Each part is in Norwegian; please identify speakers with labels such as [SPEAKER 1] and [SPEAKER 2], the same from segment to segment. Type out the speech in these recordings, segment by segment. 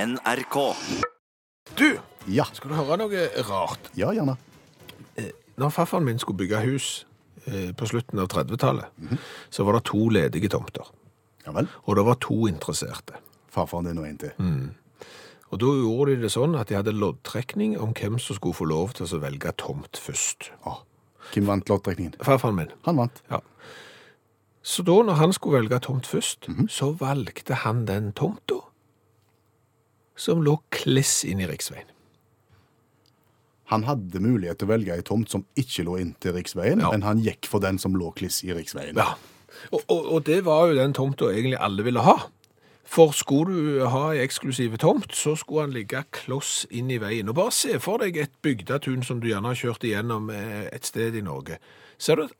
[SPEAKER 1] NRK.
[SPEAKER 2] Du,
[SPEAKER 3] Ja,
[SPEAKER 2] skal du høre noe rart?
[SPEAKER 3] ja gjerne.
[SPEAKER 2] Når farfaren min skulle bygge hus eh, på slutten av 30-tallet, så var det to ledige tomter.
[SPEAKER 3] Ja vel.
[SPEAKER 2] Og det var to interesserte. Mm.
[SPEAKER 3] Farfaren din og en til.
[SPEAKER 2] Og da gjorde de det sånn at de hadde loddtrekning om hvem som skulle få lov til å velge tomt først.
[SPEAKER 3] Å, Hvem vant loddtrekningen?
[SPEAKER 2] Farfaren min.
[SPEAKER 3] Han vant.
[SPEAKER 2] Ja. Så da, når han skulle velge tomt først, så valgte han den tomta som lå kliss inn i riksveien.
[SPEAKER 3] Han hadde mulighet til å velge ei tomt som ikke lå inntil riksveien,
[SPEAKER 2] Ja.
[SPEAKER 3] men han gikk for den som lå kliss i riksveien.
[SPEAKER 2] Ja, og, og, og det var jo den tomta egentlig alle ville ha. For skulle du ha ei eksklusiv tomt, så skulle han ligge kloss inn i veien. Og bare se for deg et bygdatun som du gjerne har kjørt igjennom eh, et sted i Norge. Ser du at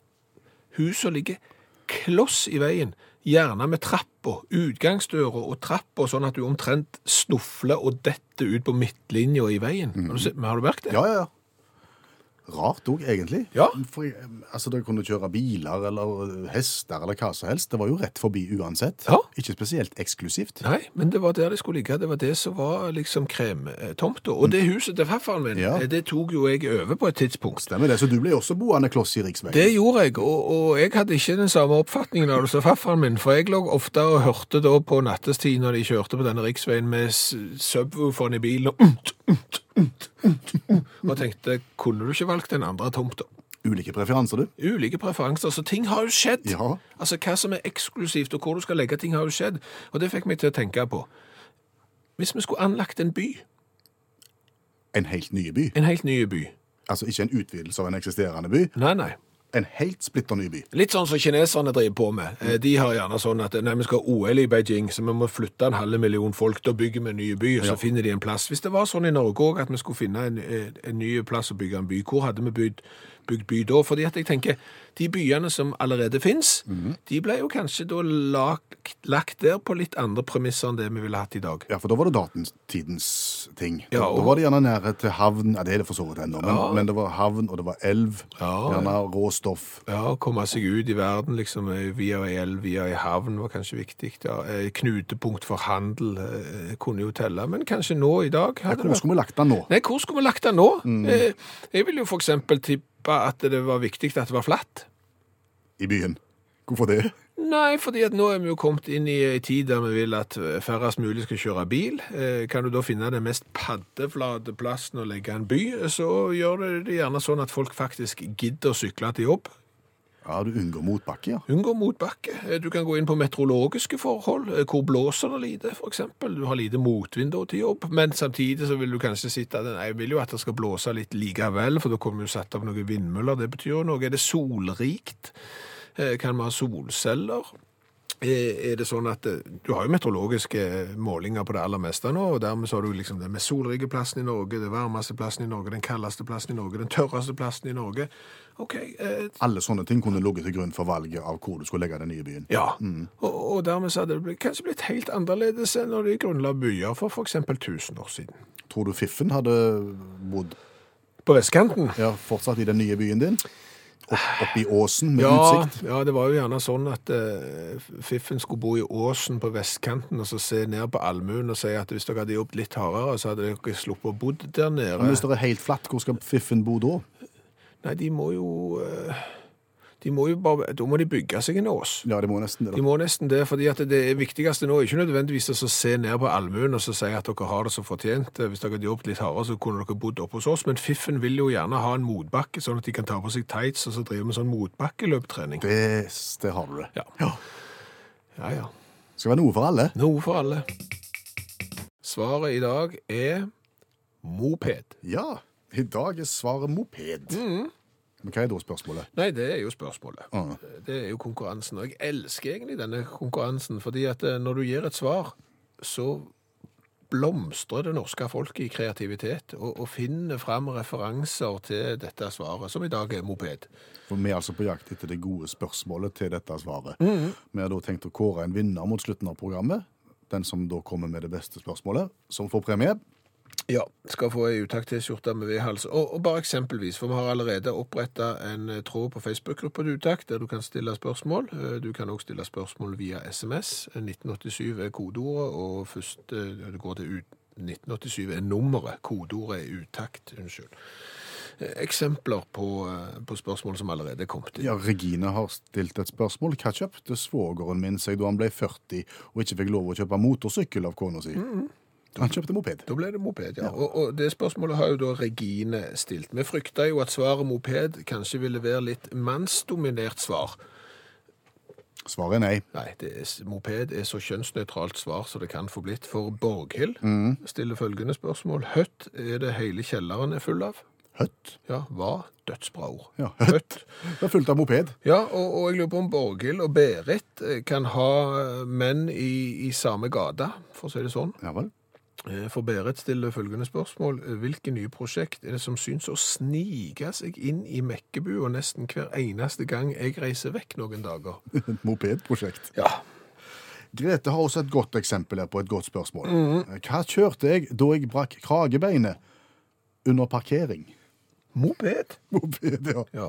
[SPEAKER 2] huset ligger kloss i veien, gjerne med trappa, utgangsdøra og trappa, sånn at du omtrent snufler og detter ut på midtlinja i veien. Har du sett- men Har du merket det?
[SPEAKER 3] ja, ja. ja. Rart òg, egentlig.
[SPEAKER 2] Ja.
[SPEAKER 3] For, eh, altså, Dere kunne kjøre biler eller eh, hester eller hva som helst. Det var jo rett forbi uansett.
[SPEAKER 2] Ja.
[SPEAKER 3] Ikke spesielt eksklusivt.
[SPEAKER 2] Nei, men det var der det skulle ligge. Det var det som var liksom kremtomta. Og det huset til farfaren min,
[SPEAKER 3] Ja.
[SPEAKER 2] eh, det tok jo jeg over på et tidspunkt.
[SPEAKER 3] Stemmer det. Så du ble også boende kloss i riksveien.
[SPEAKER 2] Det gjorde jeg, og, og jeg hadde ikke den samme oppfatningen av det som farfaren min, for jeg lå ofte og hørte da på nattestid når de kjørte på denne riksveien med s- subwooferen i bilen og umt, umt, umt, umt, umt, og tenkte, kunne du ikke valgt den andre tomta?
[SPEAKER 3] Ulike preferanser, du.
[SPEAKER 2] Ulike preferanser, så ting har jo skjedd.
[SPEAKER 3] Ja.
[SPEAKER 2] Altså, hva som er eksklusivt, og hvor du skal legge ting, har jo skjedd. Og det fikk meg til å tenke på. Hvis vi skulle anlagt en by,
[SPEAKER 3] En helt ny by.
[SPEAKER 2] en helt ny by
[SPEAKER 3] Altså ikke en utvidelse av en eksisterende by.
[SPEAKER 2] Nei, nei.
[SPEAKER 3] En helt splitter ny by.
[SPEAKER 2] Litt sånn som kineserne driver på med. Eh, De har gjerne sånn at nei, vi skal ha OL i Beijing, så vi må flytte en halv million folk. Da bygger vi en ny by, og så finner de en plass. Hvis det var sånn i Norge òg, at vi skulle finne en, eh, en ny plass å bygge en by, hvor hadde vi bygd, bygd by da? Fordi at jeg tenker, de byene som allerede fins, de ble jo kanskje da lagt, lagt der på litt andre premisser enn det vi ville hatt i dag.
[SPEAKER 3] Ja, for da var det datidens ting.
[SPEAKER 2] Ja, og-
[SPEAKER 3] Da var det gjerne nærhet til havn. Ja, det er det for så vidt ennå, men, men det var havn, og det var elv.
[SPEAKER 2] Ja,
[SPEAKER 3] gjerne råstoff.
[SPEAKER 2] Ja, å komme seg ut i verden, liksom, eh, via ei elv, via ei havn, var kanskje viktig. Ja. Eh, Knutepunkt for handel eh, kunne jo telle, men kanskje nå i dag hadde
[SPEAKER 3] Hvor
[SPEAKER 2] det vært
[SPEAKER 3] skulle Mm. vi lagt den nå?
[SPEAKER 2] Nei, hvor skulle vi lagt den nå? Eh, Jeg vil jo for eksempel tippe at det var viktig at det var flatt.
[SPEAKER 3] I byen. Hvorfor det?
[SPEAKER 2] Nei, fordi at nå er vi jo kommet inn i en tid der vi vil at eh, færrest mulig skal kjøre bil. Eh, Kan du da finne den mest paddeflate plassen å legge en by, så gjør det det gjerne sånn at folk faktisk gidder å sykle til jobb.
[SPEAKER 3] Ja, du unngår motbakke, ja.
[SPEAKER 2] Unngå motbakke. Eh, Du kan gå inn på meteorologiske forhold. eh, Hvor blåser det lite, f.eks. Du har lite motvind da til jobb, men samtidig så vil du kanskje sitte Nei, jeg vil jo at det skal blåse litt likevel, for da kommer jo satt opp noen vindmøller. Det betyr jo noe. Er det solrikt? Eh, Kan vi ha solceller? Eh, Er det sånn at eh, Du har jo meteorologiske eh, målinger på det aller meste nå, og dermed så har du liksom den mest solrike plassen i Norge, den varmeste plassen i Norge, den kaldeste plassen i Norge, den tørreste plassen i Norge. OK, eh,
[SPEAKER 3] Alle sånne ting kunne ligget til grunn for valget av hvor du skulle legge den nye byen.
[SPEAKER 2] ja,
[SPEAKER 3] Mm.
[SPEAKER 2] og, og dermed så hadde det blitt, kanskje blitt helt annerledes enn når de grunnla byer for f.eks. 1000 år siden.
[SPEAKER 3] Tror du Fiffen hadde bodd
[SPEAKER 2] På vestkanten?
[SPEAKER 3] ja, fortsatt i den nye byen din? Opp, oppe i åsen med
[SPEAKER 2] Ja,
[SPEAKER 3] utsikt?
[SPEAKER 2] ja, det var jo gjerne sånn at eh, Fiffen skulle bo i åsen på vestkanten og så se ned på allmuen og si at hvis dere hadde jobbet litt hardere, så hadde dere sluppet å bo der nede.
[SPEAKER 3] Men hvis det er helt flatt, hvor skal Fiffen bo da?
[SPEAKER 2] Nei, de må jo eh, De må jo bare Da må de bygge seg en ås.
[SPEAKER 3] Ja, det må nesten det.
[SPEAKER 2] De
[SPEAKER 3] da.
[SPEAKER 2] må nesten det, fordi at det viktigste nå er ikke nødvendigvis å se ned på allmuen og så si at dere har det så fortjent. eh, Hvis dere hadde jobbet litt hardere, så kunne dere bodd oppe hos oss. Men Fiffen vil jo gjerne ha en motbakke, sånn at de kan ta på seg tights og så drive med sånn motbakkeløptrening.
[SPEAKER 3] Det, det har du det.
[SPEAKER 2] Ja. Ja, ja.
[SPEAKER 3] Skal være noe for alle.
[SPEAKER 2] Noe for alle. Svaret i dag er moped.
[SPEAKER 3] Ja, i dag er svaret moped. Men hva er da spørsmålet?
[SPEAKER 2] Nei, det er jo spørsmålet.
[SPEAKER 3] Ah.
[SPEAKER 2] Det er jo konkurransen. Og jeg elsker egentlig denne konkurransen, fordi at eh, når du gir et svar, så blomstrer det norske folket i kreativitet og, og finner fram referanser til dette svaret, som i dag er moped.
[SPEAKER 3] For vi er altså på jakt etter det gode spørsmålet til dette svaret. Vi har da tenkt å kåre en vinner mot slutten av programmet. Den som da kommer med det beste spørsmålet, som får premie.
[SPEAKER 2] Ja, skal få ei utakt-T-skjorte med vedhals. Og, og bare eksempelvis, for vi har allerede oppretta en eh, tråd på Facebook-gruppa til utakt, der du kan stille spørsmål. Eh, Du kan òg stille spørsmål via SMS. 1987 er kodeordet, og først eh, det går til ut, 1987 er nummeret, kodeordet er utakt, unnskyld. Eh, Eksempler på, eh, på spørsmål som allerede er kommet inn.
[SPEAKER 3] Ja, Regine har stilt et spørsmål. Hva kjøpte svogeren min seg da han ble 40 og ikke fikk lov å kjøpe motorsykkel av kona si? Han kjøpte moped.
[SPEAKER 2] Da ble det moped, ja. Og, og det spørsmålet har jo da Regine stilt. Vi frykta jo at svaret moped kanskje ville være litt mannsdominert svar.
[SPEAKER 3] Svaret er nei.
[SPEAKER 2] Nei, det er, moped er så kjønnsnøytralt svar som det kan få blitt. For Borghild stiller følgende spørsmål. Høtt er det hele kjelleren er full av.
[SPEAKER 3] Høtt.
[SPEAKER 2] Ja, var dødsbra ord.
[SPEAKER 3] Ja,
[SPEAKER 2] Høtt.
[SPEAKER 3] Det er fullt av moped.
[SPEAKER 2] Ja, og, og jeg lurer på om Borghild og Berit eh, kan ha eh, menn i, i samme gata, for å si det sånn.
[SPEAKER 3] Ja vel.
[SPEAKER 2] Eh, For Berit stiller følgende spørsmål. Eh, Hvilke nye prosjekt er det som synes å snike seg inn i Mekkebua nesten hver eneste gang jeg reiser vekk noen dager?
[SPEAKER 3] Et mopedprosjekt.
[SPEAKER 2] Ja,
[SPEAKER 3] Grete har også et godt eksempel her på et godt spørsmål. Eh, Hva kjørte jeg da jeg brakk kragebeinet under parkering?
[SPEAKER 2] moped.
[SPEAKER 3] Moped, ja.
[SPEAKER 2] Ja,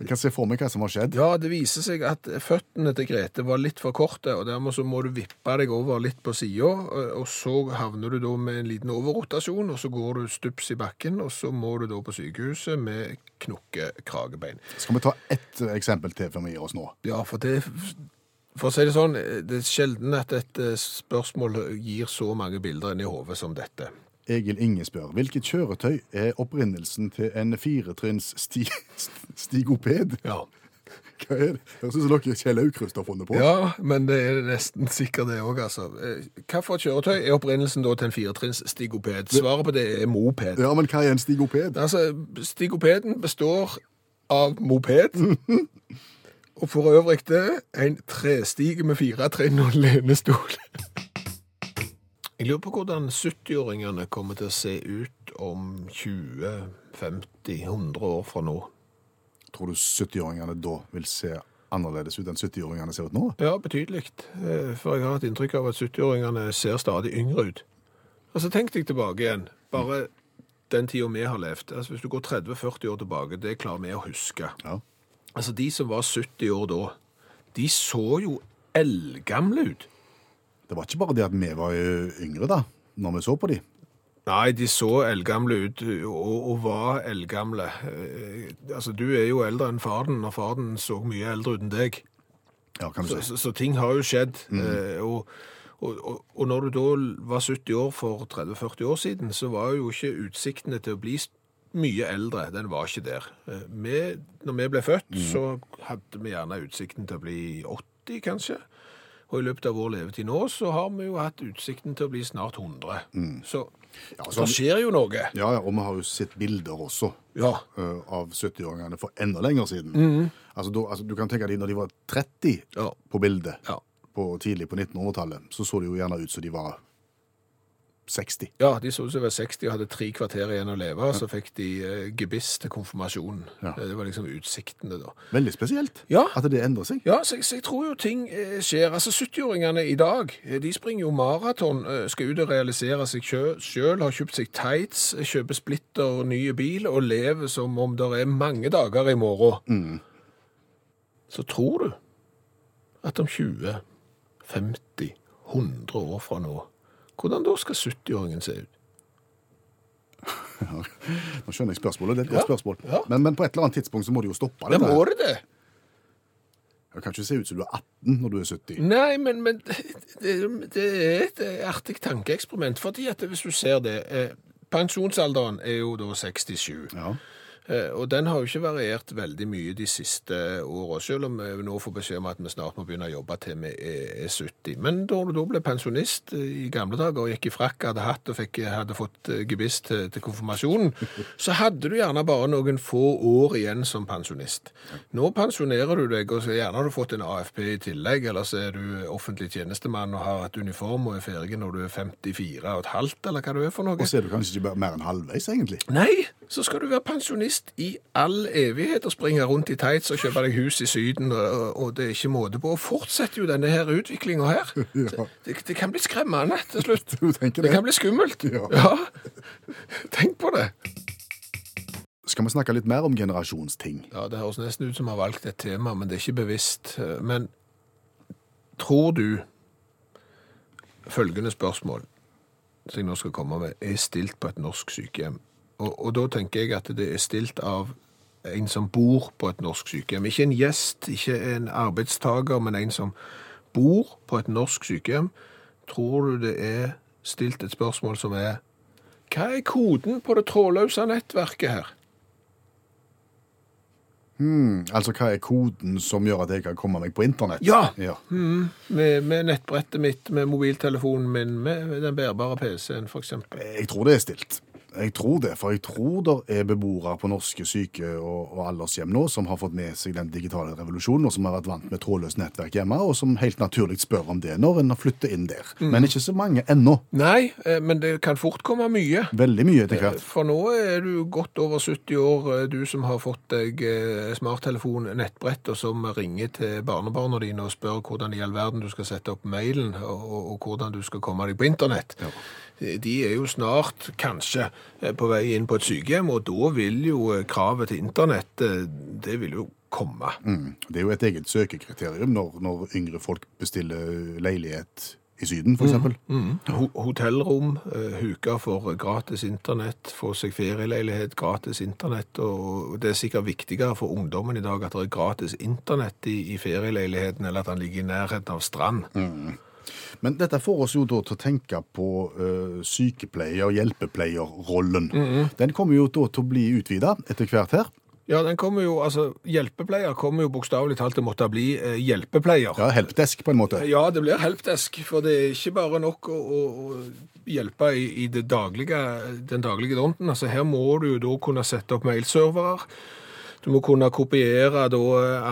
[SPEAKER 3] Jeg kan se for meg hva som har skjedd.
[SPEAKER 2] Ja, det viser seg at føttene til Grete var litt for korte, og dermed så må du vippe deg over litt på sida, og så havner du da med en liten overrotasjon, og så går du stups i bakken, og så må du da på sykehuset med knokkekragebein.
[SPEAKER 3] Skal vi ta ett eh, eksempel til før vi gir oss nå?
[SPEAKER 2] Ja, for det For å si det sånn, det er sjelden at et eh, spørsmål gir så mange bilder inn i hodet som dette.
[SPEAKER 3] Egil Inge spør hvilket kjøretøy er opprinnelsen til en firetrinns sti st- stigoped?
[SPEAKER 2] Ja.
[SPEAKER 3] Hva er det? Høres ut som noe Kjell Aukrust har funnet på.
[SPEAKER 2] ja, men det er nesten sikkert det òg, altså. Eh, Hvilket kjøretøy er opprinnelsen da til en firetrinns stigoped? Svaret på det er moped.
[SPEAKER 3] Ja, men hva er en stigoped?
[SPEAKER 2] Altså, stigopeden består av moped. Og for øvrig det, en trestige med fire trinn og lenestol. Jeg lurer på hvordan 70-åringene kommer til å se ut om 20, 50, 100 år fra nå.
[SPEAKER 3] Tror du 70-åringene da vil se annerledes ut enn 70-åringene ser ut nå?
[SPEAKER 2] Ja, betydelig. Eh, For jeg har et inntrykk av at 70-åringene ser stadig yngre ut. Altså, tenk deg tilbake igjen. Bare den tida vi har levd. Altså, hvis du går 30-40 år tilbake, det klarer vi å huske.
[SPEAKER 3] Ja.
[SPEAKER 2] Altså, de som var 70 år da, de så jo eldgamle ut.
[SPEAKER 3] Det var ikke bare det at vi var ø, yngre da, når vi så på de.
[SPEAKER 2] Nei, de så eldgamle ut, og, og var eldgamle. Eh, altså, du er jo eldre enn faren, og faren så mye eldre uten deg.
[SPEAKER 3] Ja, kan du
[SPEAKER 2] Så,
[SPEAKER 3] si.
[SPEAKER 2] så, så ting har jo skjedd. Eh, og, og, og, og når du da var 70 år for 30-40 år siden, så var jo ikke utsiktene til å bli s- mye eldre, den var ikke der. Eh, Vi, når vi ble født, så hadde vi gjerne utsikten til å bli 80, kanskje. Og i løpet av vår levetid nå, så har vi jo hatt utsikten til å bli snart 100. Så,
[SPEAKER 3] så-
[SPEAKER 2] det skjer jo noe.
[SPEAKER 3] sånn- Ja, ja, og vi har jo sett bilder også
[SPEAKER 2] Ja,
[SPEAKER 3] ø, av 70-åringene for enda lenger siden. Altså, da, altså, du kan tenke deg når de var 30
[SPEAKER 2] Mhm. ja,
[SPEAKER 3] på bildet,
[SPEAKER 2] ja.
[SPEAKER 3] på, tidlig på 1900-tallet, så så det jo gjerne ut som de var 60.
[SPEAKER 2] Ja, de så ut som de var 60 og hadde tre kvarter igjen å leve, og så fikk de eh, gebiss til konfirmasjonen.
[SPEAKER 3] Ja.
[SPEAKER 2] Eh, Det var liksom utsiktene da.
[SPEAKER 3] Veldig spesielt
[SPEAKER 2] Ja.
[SPEAKER 3] at det endrer seg.
[SPEAKER 2] Ja, så jeg, så jeg tror jo ting eh, skjer. Altså, 70-åringene i dag, eh, de springer jo maraton, eh, skal ut og realisere seg sjø- selv, har kjøpt seg tights, eh, kjøper splitter nye bil, og lever som om det er mange dager i morgen.
[SPEAKER 3] Mm.
[SPEAKER 2] Så tror du at om 20, 50, 100 år fra nå, hvordan da skal 70-åringen se ut?
[SPEAKER 3] Nå skjønner jeg spørsmålet, det er et
[SPEAKER 2] Ja.
[SPEAKER 3] godt spørsmål.
[SPEAKER 2] Ja.
[SPEAKER 3] Men, men på et eller annet tidspunkt så må de jo stoppe
[SPEAKER 2] Ja,
[SPEAKER 3] det.
[SPEAKER 2] må det det?
[SPEAKER 3] Du kan ikke se ut som du er 18 når du er 70.
[SPEAKER 2] Nei, men, men det, det er et artig tankeeksperiment, fordi at hvis du ser det eh, Pensjonsalderen er jo da 67,
[SPEAKER 3] Ja.
[SPEAKER 2] eh, og den har jo ikke variert veldig mye de siste åra, selv om eh, vi nå får beskjed om at vi snart må begynne å jobbe til vi er er 70. Men da du da ble pensjonist eh, i gamle dager og gikk i frakk, hadde hatt og fikk, hadde fått eh, gebiss til, til konfirmasjonen, så hadde du gjerne bare noen få år igjen som pensjonist. Nå pensjonerer du deg, og så gjerne har du fått en AFP i tillegg, eller så er du offentlig tjenestemann og har hatt uniform og er ferdig når du er 54 og et halvt, eller hva du er for noe.
[SPEAKER 3] Og så er du kanskje ikke bare- mer enn halvveis, egentlig.
[SPEAKER 2] Nei, så skal du være pensjonist i all evighet og springe rundt i tights og kjøpe deg hus i Syden, og, og det er ikke måte på. Og fortsetter jo denne her utviklinga her.
[SPEAKER 3] Ja.
[SPEAKER 2] Det, det kan bli skremmende til slutt.
[SPEAKER 3] Du tenker
[SPEAKER 2] Det
[SPEAKER 3] det.
[SPEAKER 2] kan bli skummelt.
[SPEAKER 3] Ja.
[SPEAKER 2] Tenk på det.
[SPEAKER 3] Skal vi snakke litt mer om generasjonsting?
[SPEAKER 2] Ja, Det høres nesten ut som vi har valgt et tema, men det er ikke bevisst. Men tror du Følgende spørsmål. som jeg nå skal komme med, er stilt på et norsk sykehjem. Og, og da tenker jeg at det er stilt av en som bor på et norsk sykehjem. Ikke en gjest, ikke en arbeidstaker, men en som bor på et norsk sykehjem. Tror du det er stilt et spørsmål som er Hva er koden på det trådløse nettverket her?
[SPEAKER 3] Mm, altså, hva er koden som gjør at jeg kan komme meg på internett?
[SPEAKER 2] Ja.
[SPEAKER 3] ja.
[SPEAKER 2] Mm. Med, med nettbrettet mitt, med mobiltelefonen min, med den bærbare PC-en, f.eks.
[SPEAKER 3] Jeg tror det er stilt. Jeg tror det, for jeg tror det er beboere på norske syke- og, og aldershjem nå som har fått med seg den digitale revolusjonen, og som har vært vant med trådløst nettverk hjemme, og som helt naturlig spør om det når en flytter inn der.
[SPEAKER 2] Mm.
[SPEAKER 3] Men ikke så mange ennå.
[SPEAKER 2] Nei, eh, men det kan fort komme mye.
[SPEAKER 3] Veldig mye etter hvert.
[SPEAKER 2] For nå er du godt over 70 år, eh, du som har fått deg eh, smarttelefon, nettbrett, og som ringer til barnebarna dine og spør hvordan i all verden du skal sette opp mailen, og, og, og hvordan du skal komme deg på internett. Eh, De er jo snart, kanskje, eh, på vei inn på et sykehjem, og da vil jo eh, kravet til internett, eh, det vil jo komme.
[SPEAKER 3] Mm. Det er jo et eget søkekriterium når, når yngre folk bestiller leilighet i Syden, for eksempel.
[SPEAKER 2] Mm. Ho- Hotellrom, eh, huka for gratis internett, få seg ferieleilighet, gratis internett. Og det er sikkert viktigere for ungdommen i dag at det er gratis internett i, i ferieleiligheten, eller at han ligger i nærheten av strand.
[SPEAKER 3] Men dette får oss jo da til å tenke på eh, sykepleier- og hjelpepleierrollen. Den kommer jo da til å bli utvida etter hvert her.
[SPEAKER 2] Ja, den kommer jo, altså, Hjelpepleier kommer jo bokstavelig talt til å måtte bli eh, hjelpepleier.
[SPEAKER 3] Ja, helpdesk, på en måte.
[SPEAKER 2] Ja, det blir helpdesk, for det er ikke bare nok å, å, å hjelpe i, i det daglige, den daglige dronten. Altså, her må du jo da kunne sette opp mailserverer. Du må kunne kopiere da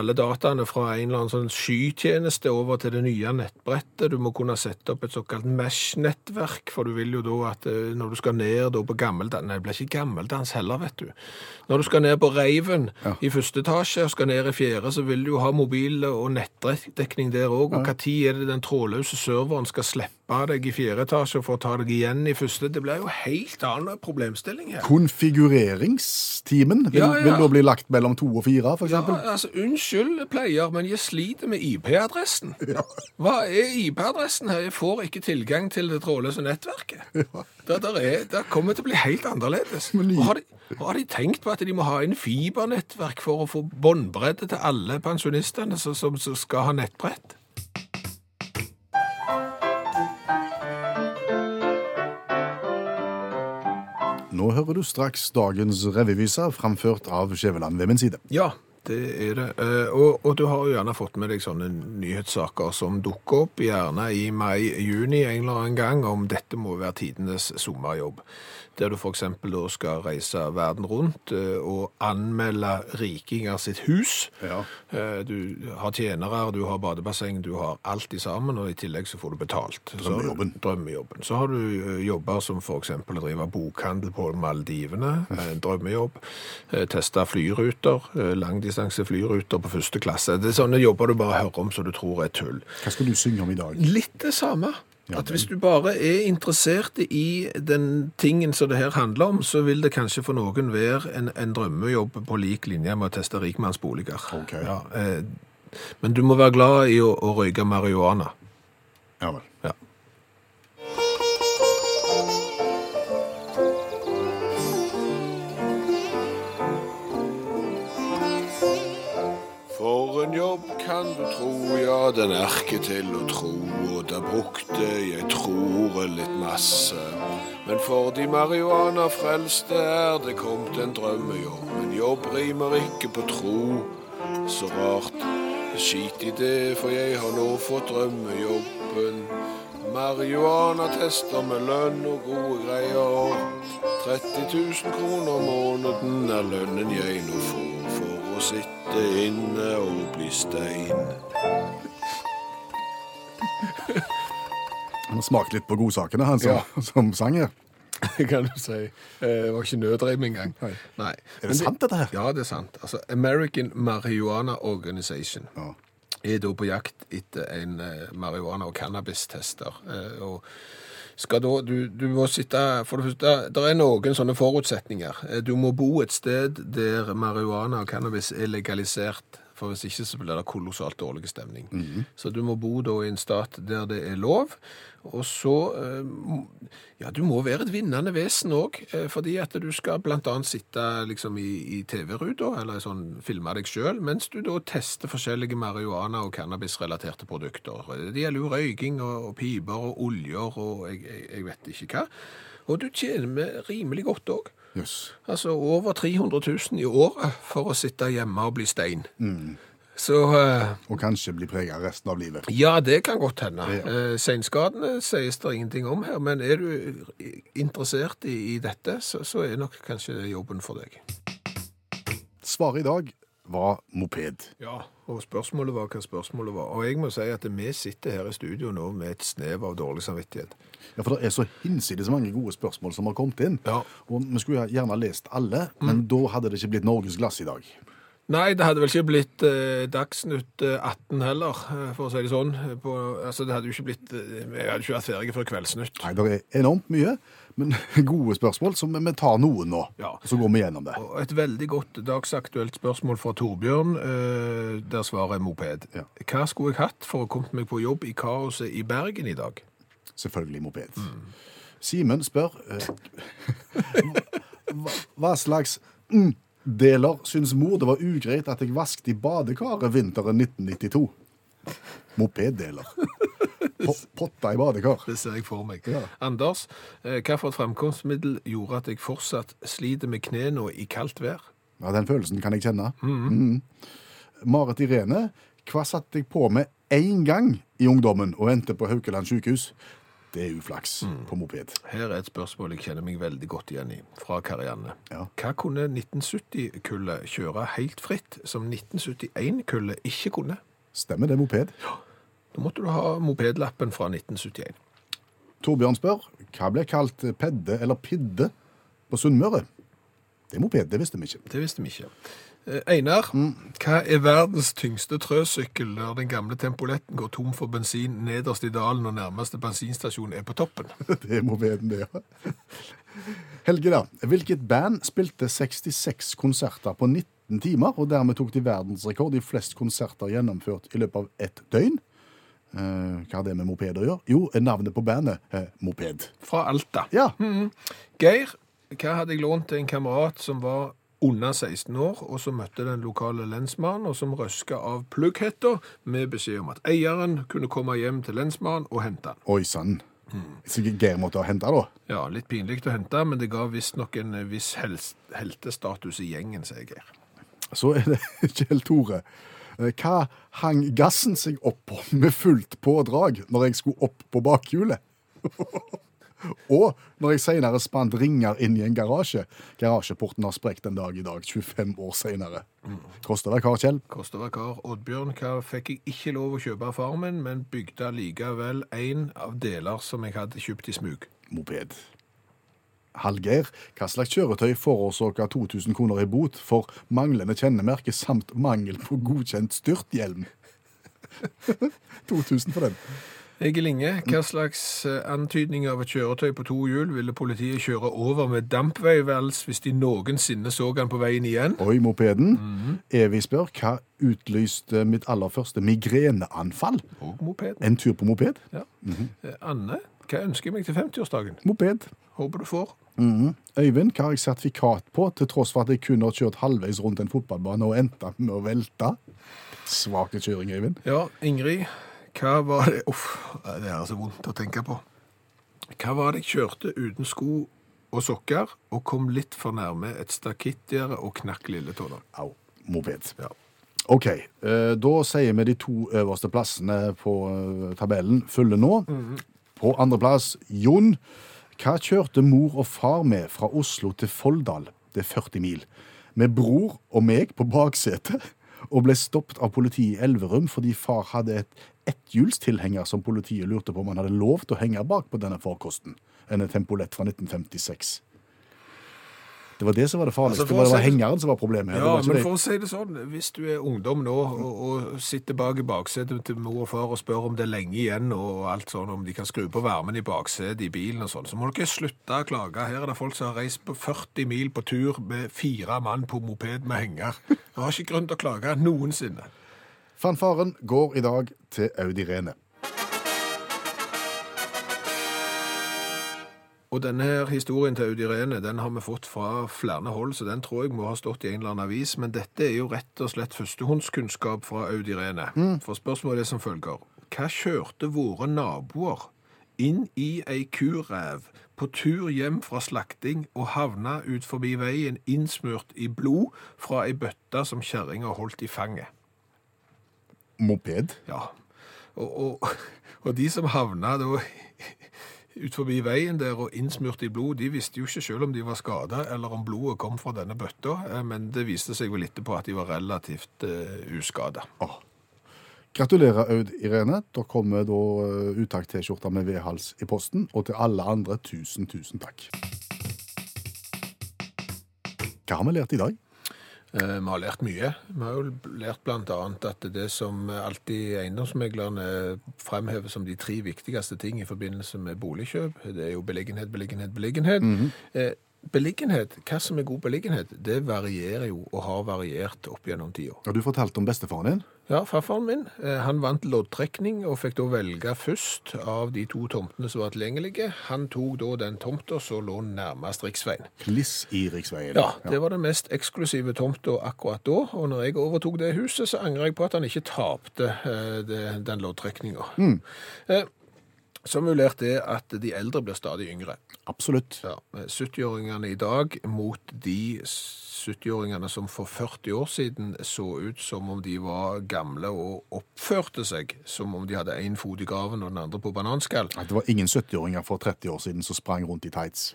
[SPEAKER 2] alle dataene fra en eller annen sånn skytjeneste over til det nye nettbrettet. Du må kunne sette opp et såkalt mesh-nettverk, for du vil jo da at eh, når du skal ned da på gammeldans Nei, det blir ikke gammeldans heller, vet du. Når du skal ned på Reiven i første etasje og skal ned i fjerde, så vil du jo ha mobil og nettdekning der òg. Og når er det den trådløse serveren skal slippe deg i fjerde etasje for å ta deg igjen i første? Det blir jo helt annen problemstilling her.
[SPEAKER 3] Konfigureringstimen vil,
[SPEAKER 2] Ja, ja.
[SPEAKER 3] vil da bli lagt mellom to og fire, for eksempel.
[SPEAKER 2] Ja, altså, unnskyld, pleier, men jeg sliter med IP-adressen. Hva er IP-adressen her? Jeg får ikke tilgang til det trådløse nettverket. Det der er, der kommer til å bli helt annerledes.
[SPEAKER 3] Men i-
[SPEAKER 2] Og Har, de, og har de tenkt på at de må ha en fibernettverk for å få båndbredde til alle pensjonistene som, som, som skal ha nettbrett?
[SPEAKER 3] Nå hører du straks dagens revyvise framført av Skjæveland ved min side.
[SPEAKER 2] Ja, det er det. Eh, Og, og du har jo gjerne fått med deg sånne nyhetssaker som dukker opp, gjerne i mai-juni en eller annen gang, om dette må være tidenes sommerjobb. Der du f.eks. da skal reise verden rundt eh, og anmelde rikinger sitt hus.
[SPEAKER 3] Ja.
[SPEAKER 2] Eh, Du har tjenere, du har badebasseng, du har alt i sammen, og i tillegg så får du betalt. Så har du-
[SPEAKER 3] Drømmejobben.
[SPEAKER 2] drømmejobben. Så har du eh, jobber som for eksempel å drive bokhandel på Maldivene, eh, en drømmejobb, eh, teste flyruter, eh, langdistanse flyruter på første klasse. Det er sånne jobber du bare hører om som du tror er tull.
[SPEAKER 3] Hva skal du synge om i dag?
[SPEAKER 2] Litt det samme. At hvis du bare er interessert i den tingen som det her handler om, så vil det kanskje for noen være en, en drømmejobb på lik linje med å teste rikmannsboliger.
[SPEAKER 3] Ok.
[SPEAKER 2] Ja, eh, men du må være glad i å, å røyke marihuana.
[SPEAKER 3] Ja vel.
[SPEAKER 2] Ja. For en jobb kan du tro, ja, den er ikke til å tro, og da brukte jeg tror litt masse. Men for de marihuana-frelste er det kommet en drømmejobb, men jobb rimer ikke på tro. Så rart, skit i det, for jeg har nå fått drømmejobben. Marihuana-tester med lønn og gode greier. 30 000 kroner måneden er lønnen jeg nå får for å sitte inne og bli stein.
[SPEAKER 3] Han har smakt litt på godsakene, han som, som sang her.
[SPEAKER 2] kan du si. Eh, Det var ikke nødreim engang. Nei.
[SPEAKER 3] Er
[SPEAKER 2] Men
[SPEAKER 3] det sant, dette her?
[SPEAKER 2] Ja, det er sant. Altså, American Marihuana Organization
[SPEAKER 3] Ja.
[SPEAKER 2] er da på jakt etter en eh, marihuana- og cannabistester. Eh, og skal da, du, du må sitte, for det første, det er noen sånne forutsetninger. Eh, Du må bo et sted der marihuana og cannabis er legalisert, For hvis ikke så blir det kolossalt dårlig stemning. Så du må bo da i en stat der det er lov. Og så eh, m- Ja, du må være et vinnende vesen òg, fordi at du skal bl.a. sitte liksom i, i TV-ruta, eller sånn filme deg sjøl, mens du da tester forskjellige marihuana- og cannabisrelaterte produkter. Det gjelder jo røyking og, og piper og oljer og jeg, jeg, jeg vet ikke hva. Og du tjener med rimelig godt òg.
[SPEAKER 3] Jøss.
[SPEAKER 2] Altså over 300 000 i året for å sitte hjemme og bli stein. Så eh,
[SPEAKER 3] Og kanskje bli prega resten av livet.
[SPEAKER 2] ja, det kan godt hende.
[SPEAKER 3] Ja.
[SPEAKER 2] Eh, Seinskadene sies det ingenting om her, men er du interessert i, i dette, så, så er nok kanskje det jobben for deg.
[SPEAKER 3] Svaret i dag var moped.
[SPEAKER 2] Ja, og spørsmålet var hva spørsmålet var. Og jeg må si at vi sitter her i studio nå med et snev av dårlig samvittighet.
[SPEAKER 3] Ja, For det er så hinsides mange gode spørsmål som har kommet inn.
[SPEAKER 2] Ja.
[SPEAKER 3] Og vi skulle gjerne lest alle, men da hadde det ikke blitt Norges glass i dag.
[SPEAKER 2] Nei, det hadde vel ikke blitt eh, Dagsnytt eh, 18 heller, eh, for å si det sånn. På, altså, det hadde jo ikke blitt eh, Vi hadde ikke vært ferdige før Kveldsnytt.
[SPEAKER 3] Nei, det er enormt mye, men gode spørsmål, så vi vi tar noen nå.
[SPEAKER 2] Ja.
[SPEAKER 3] Og så går vi gjennom det.
[SPEAKER 2] Og et veldig godt dagsaktuelt spørsmål fra Torbjørn, eh, der svaret er moped.
[SPEAKER 3] Ja.
[SPEAKER 2] Hva skulle jeg hatt for å komme meg på jobb i kaoset i Bergen i dag?
[SPEAKER 3] Selvfølgelig moped. Simen spør eh, hva, hva slags mm, deler syns mor det var ugreit at jeg vasket i badekaret vinteren 1992? Mopeddeler. Po potta i badekar.
[SPEAKER 2] Det ser jeg for meg.
[SPEAKER 3] Ja.
[SPEAKER 2] Anders, eh, hva for et fremkomstmiddel gjorde at jeg fortsatt sliter med knærne i kaldt vær?
[SPEAKER 3] Ja, Den følelsen kan jeg kjenne. Mm. Marit Irene, hva satte jeg på med én gang i ungdommen og endte på Haukeland sykehus? Det er uflaks på moped.
[SPEAKER 2] Her er et spørsmål jeg kjenner meg veldig godt igjen i, fra Karianne.
[SPEAKER 3] Ja.
[SPEAKER 2] Hva kunne 1970-kullet kjøre helt fritt, som 1971-kullet ikke kunne?
[SPEAKER 3] Stemmer det, moped?
[SPEAKER 2] Da måtte du ha mopedlappen fra 1971.
[SPEAKER 3] Torbjørn spør hva ble kalt pedde eller pidde på Sunnmøre? Det er moped, det visste vi ikke.
[SPEAKER 2] Det visste vi ikke. Eh, Einar, hva er verdens tyngste trøsykkel der den gamle tempoletten går tom for bensin nederst i dalen og nærmeste bensinstasjon er på toppen?
[SPEAKER 3] Det er mopeden, det, ja. Helge, da. Hvilket band spilte 66 konserter på 19 timer, og dermed tok de verdensrekord i flest konserter gjennomført i løpet av ett døgn? Eh, hva har det med moped å gjøre? Jo, er navnet på bandet eh, Moped.
[SPEAKER 2] Fra Alta.
[SPEAKER 3] Ja,
[SPEAKER 2] Geir, hva hadde jeg lånt til en kamerat som var under 16 år, og som møtte den lokale lensmannen, og som røska av plugghetta med beskjed om at eieren kunne komme hjem til lensmannen og hente han.
[SPEAKER 3] oi sann. Sikkert Geir måtte ha henta, da.
[SPEAKER 2] Ja, litt pinlig å hente, men det ga visstnok en viss hels- heltestatus i gjengen, sier Geir.
[SPEAKER 3] Så er det Kjell Tore. Eh, Hva hang gassen seg opp på med fullt pådrag når jeg skulle opp på bakhjulet? Og når jeg senere spant ringer inn i en garasje. Garasjeporten har sprukket en dag i dag, 25 år senere. Koster det, Kar Kjell?
[SPEAKER 2] Kosta hver kar. Oddbjørn, hva fikk jeg ikke lov å kjøpe av faren min, men bygde likevel en av deler som jeg hadde kjøpt i smug.
[SPEAKER 3] Moped. Hallgeir, hva slags kjøretøy forårsaka 2000 kroner i bot for manglende kjennemerke samt mangel på godkjent styrthjelm? 2000 for den.
[SPEAKER 2] Egil Inge, hva slags eh, antydning av et kjøretøy på to hjul ville politiet kjøre over med dampveivels hvis de noensinne så han på veien igjen?
[SPEAKER 3] Oi, mopeden. Evig spør hva utlyste mitt aller første migreneanfall?
[SPEAKER 2] Og mopeden.
[SPEAKER 3] En tur på moped?
[SPEAKER 2] Ja. Eh, Anne, hva ønsker jeg meg til 50-årsdagen?
[SPEAKER 3] Moped.
[SPEAKER 2] Håper du får.
[SPEAKER 3] Mhm. Øyvind, hva har jeg sertifikat på, til tross for at jeg kun har kjørt halvveis rundt en fotballbane og endte med å velte? Svake kjøring, Øyvind.
[SPEAKER 2] Ja, Ingrid, hva var det Uff, det er så vondt å tenke på. Hva var det jeg kjørte uten sko og sokker, og kom litt for nærme et stakittgjerde og knakk lilletåa?
[SPEAKER 3] Au. Moped.
[SPEAKER 2] Ja.
[SPEAKER 3] OK, eh, da sier vi de to øverste plassene på eh, tabellen fulle nå. På andreplass Jon. Hva kjørte mor og far med fra Oslo til Folldal? Det er 40 mil. Med bror og meg på baksetet. Og ble stoppet av politiet i Elverum fordi far hadde et etthjulstilhenger som politiet lurte på om han hadde lov til å henge bak på denne farkosten. En Tempolett fra 1956. Det var det som var det farligste.
[SPEAKER 2] Altså, for
[SPEAKER 3] det, var,
[SPEAKER 2] å
[SPEAKER 3] det var
[SPEAKER 2] si det-
[SPEAKER 3] hengeren som var problemet. her, det
[SPEAKER 2] Ja,
[SPEAKER 3] var ikke
[SPEAKER 2] men
[SPEAKER 3] det.
[SPEAKER 2] for å si det sånn, hvis du er ungdom nå og, og sitter bak i baksetet til mor og far og spør om det er lenge igjen og alt sånn, om de kan skru på varmen i baksetet i bilen og sånn, så må dere slutte å klage. Her er det folk som har reist på 40 mil på tur med fire mann på moped med henger. Du har ikke grunn til å klage noensinne.
[SPEAKER 3] Fanfaren går i dag til Audi Rene.
[SPEAKER 2] Og denne her historien til Audi Rene, den har vi fått fra flere hold, så den tror jeg må ha stått i en eller annen avis, men dette er jo rett og slett førstehåndskunnskap fra Audi Rene. For spørsmålet er som følger. Hva kjørte våre naboer inn i ei kurev på tur hjem fra slakting og havna ut forbi veien innsmurt i blod fra ei bøtte som kjerringa holdt i fanget?
[SPEAKER 3] Moped.
[SPEAKER 2] Ja. Og, og, og de som havna da ut forbi veien der og innsmurt i blod, de visste jo ikke selv om de var skada eller om blodet kom fra denne bøtta, eh, men det viste seg vel etterpå at de var relativt uh, uskada.
[SPEAKER 3] Ah. Gratulerer, Aud Irene. Da kommer da eh, uttak-T-skjorta med V-hals i posten. Og til alle andre, tusen, tusen takk. Hva har vi lært i dag?
[SPEAKER 2] Eh, Vi har lært mye. Vi har jo lært blant annet at det som alltid eiendomsmeglerne fremhever som de tre viktigste ting i forbindelse med boligkjøp, det er jo beliggenhet, beliggenhet, beliggenhet. Eh, Beliggenhet, hva som er god beliggenhet, det varierer jo og har variert opp gjennom tida.
[SPEAKER 3] Ja, du fortalte om bestefaren din.
[SPEAKER 2] Ja, farfaren min eh, han vant loddtrekning og fikk da velge først av de to tomtene som var tilgjengelige. Han tok da den tomta som lå nærmest riksveien.
[SPEAKER 3] Kliss i riksveien.
[SPEAKER 2] Ja, det var den mest eksklusive tomta akkurat da, og når jeg overtok det huset, så angrer jeg på at han ikke tapte eh, det- den loddtrekninga. Eh, som jo lærte er at de eldre blir stadig yngre.
[SPEAKER 3] Absolutt.
[SPEAKER 2] Ja, 70-åringene i dag mot de 70-åringene som for 40 år siden så ut som om de var gamle og oppførte seg som om de hadde én fot i graven og den andre på bananskall.
[SPEAKER 3] At det var ingen 70-åringer for 30 år siden som sprang rundt i tights.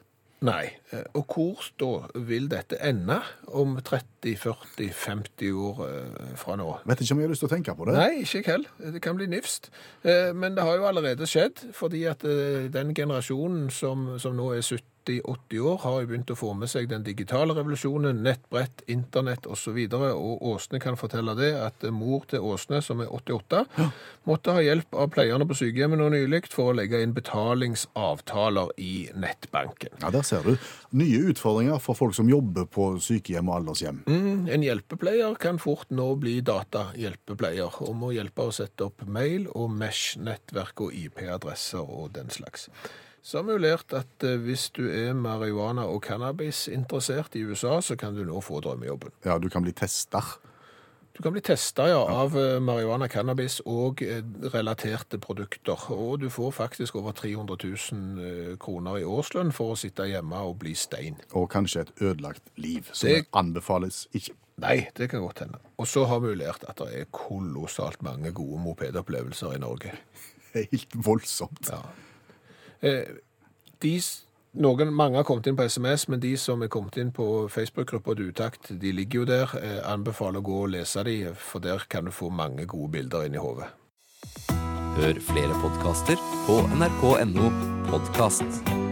[SPEAKER 2] Nei. Eh, Og hvor da vil dette ende om 30, 40, 50 år eh, fra nå?
[SPEAKER 3] Vet ikke om jeg har lyst til å tenke på det.
[SPEAKER 2] Nei, ikke jeg heller. Det kan bli nifst. Eh, Men det har jo allerede skjedd, fordi at eh, den generasjonen som, som nå er 70-80 år, har jo begynt å få med seg den digitale revolusjonen, nettbrett, internett osv. Og, så videre. og Åsne kan fortelle det, at eh, mor til Åsne, som er 88, måtte ha hjelp av pleierne på sykehjemmet nå nylig for å legge inn betalingsavtaler i nettbanken.
[SPEAKER 3] Ja, Der ser du. Nye utfordringer for folk som jobber på sykehjem og aldershjem.
[SPEAKER 2] Mm, En hjelpepleier kan fort nå bli datahjelpepleier og må hjelpe å sette opp mail og mesh-nettverk og IP-adresser og den slags. Så har vi jo lært at eh, hvis du er marihuana- og cannabis-interessert i USA, så kan du nå få drømmejobben.
[SPEAKER 3] Ja, du kan bli tester.
[SPEAKER 2] Du kan bli testa ja, av eh, marihuana, cannabis og eh, relaterte produkter. Og du får faktisk over 300 000 eh, kroner i årslønn for å sitte hjemme og bli stein.
[SPEAKER 3] Og kanskje et ødelagt liv, som
[SPEAKER 2] Det-
[SPEAKER 3] anbefales ikke.
[SPEAKER 2] Nei, det kan godt hende. Og så har vi jo lært at det er kolossalt mange gode mopedopplevelser i Norge.
[SPEAKER 3] Helt voldsomt.
[SPEAKER 2] Ja. Eh, de, s- noen, mange har kommet inn på SMS, men de som er kommet inn på Facebook-gruppa til utakt, de ligger jo der. Eh, anbefaler å gå og lese de, for der kan du få mange gode bilder inn i hodet.
[SPEAKER 1] Hør flere podkaster på nrk.no podkast.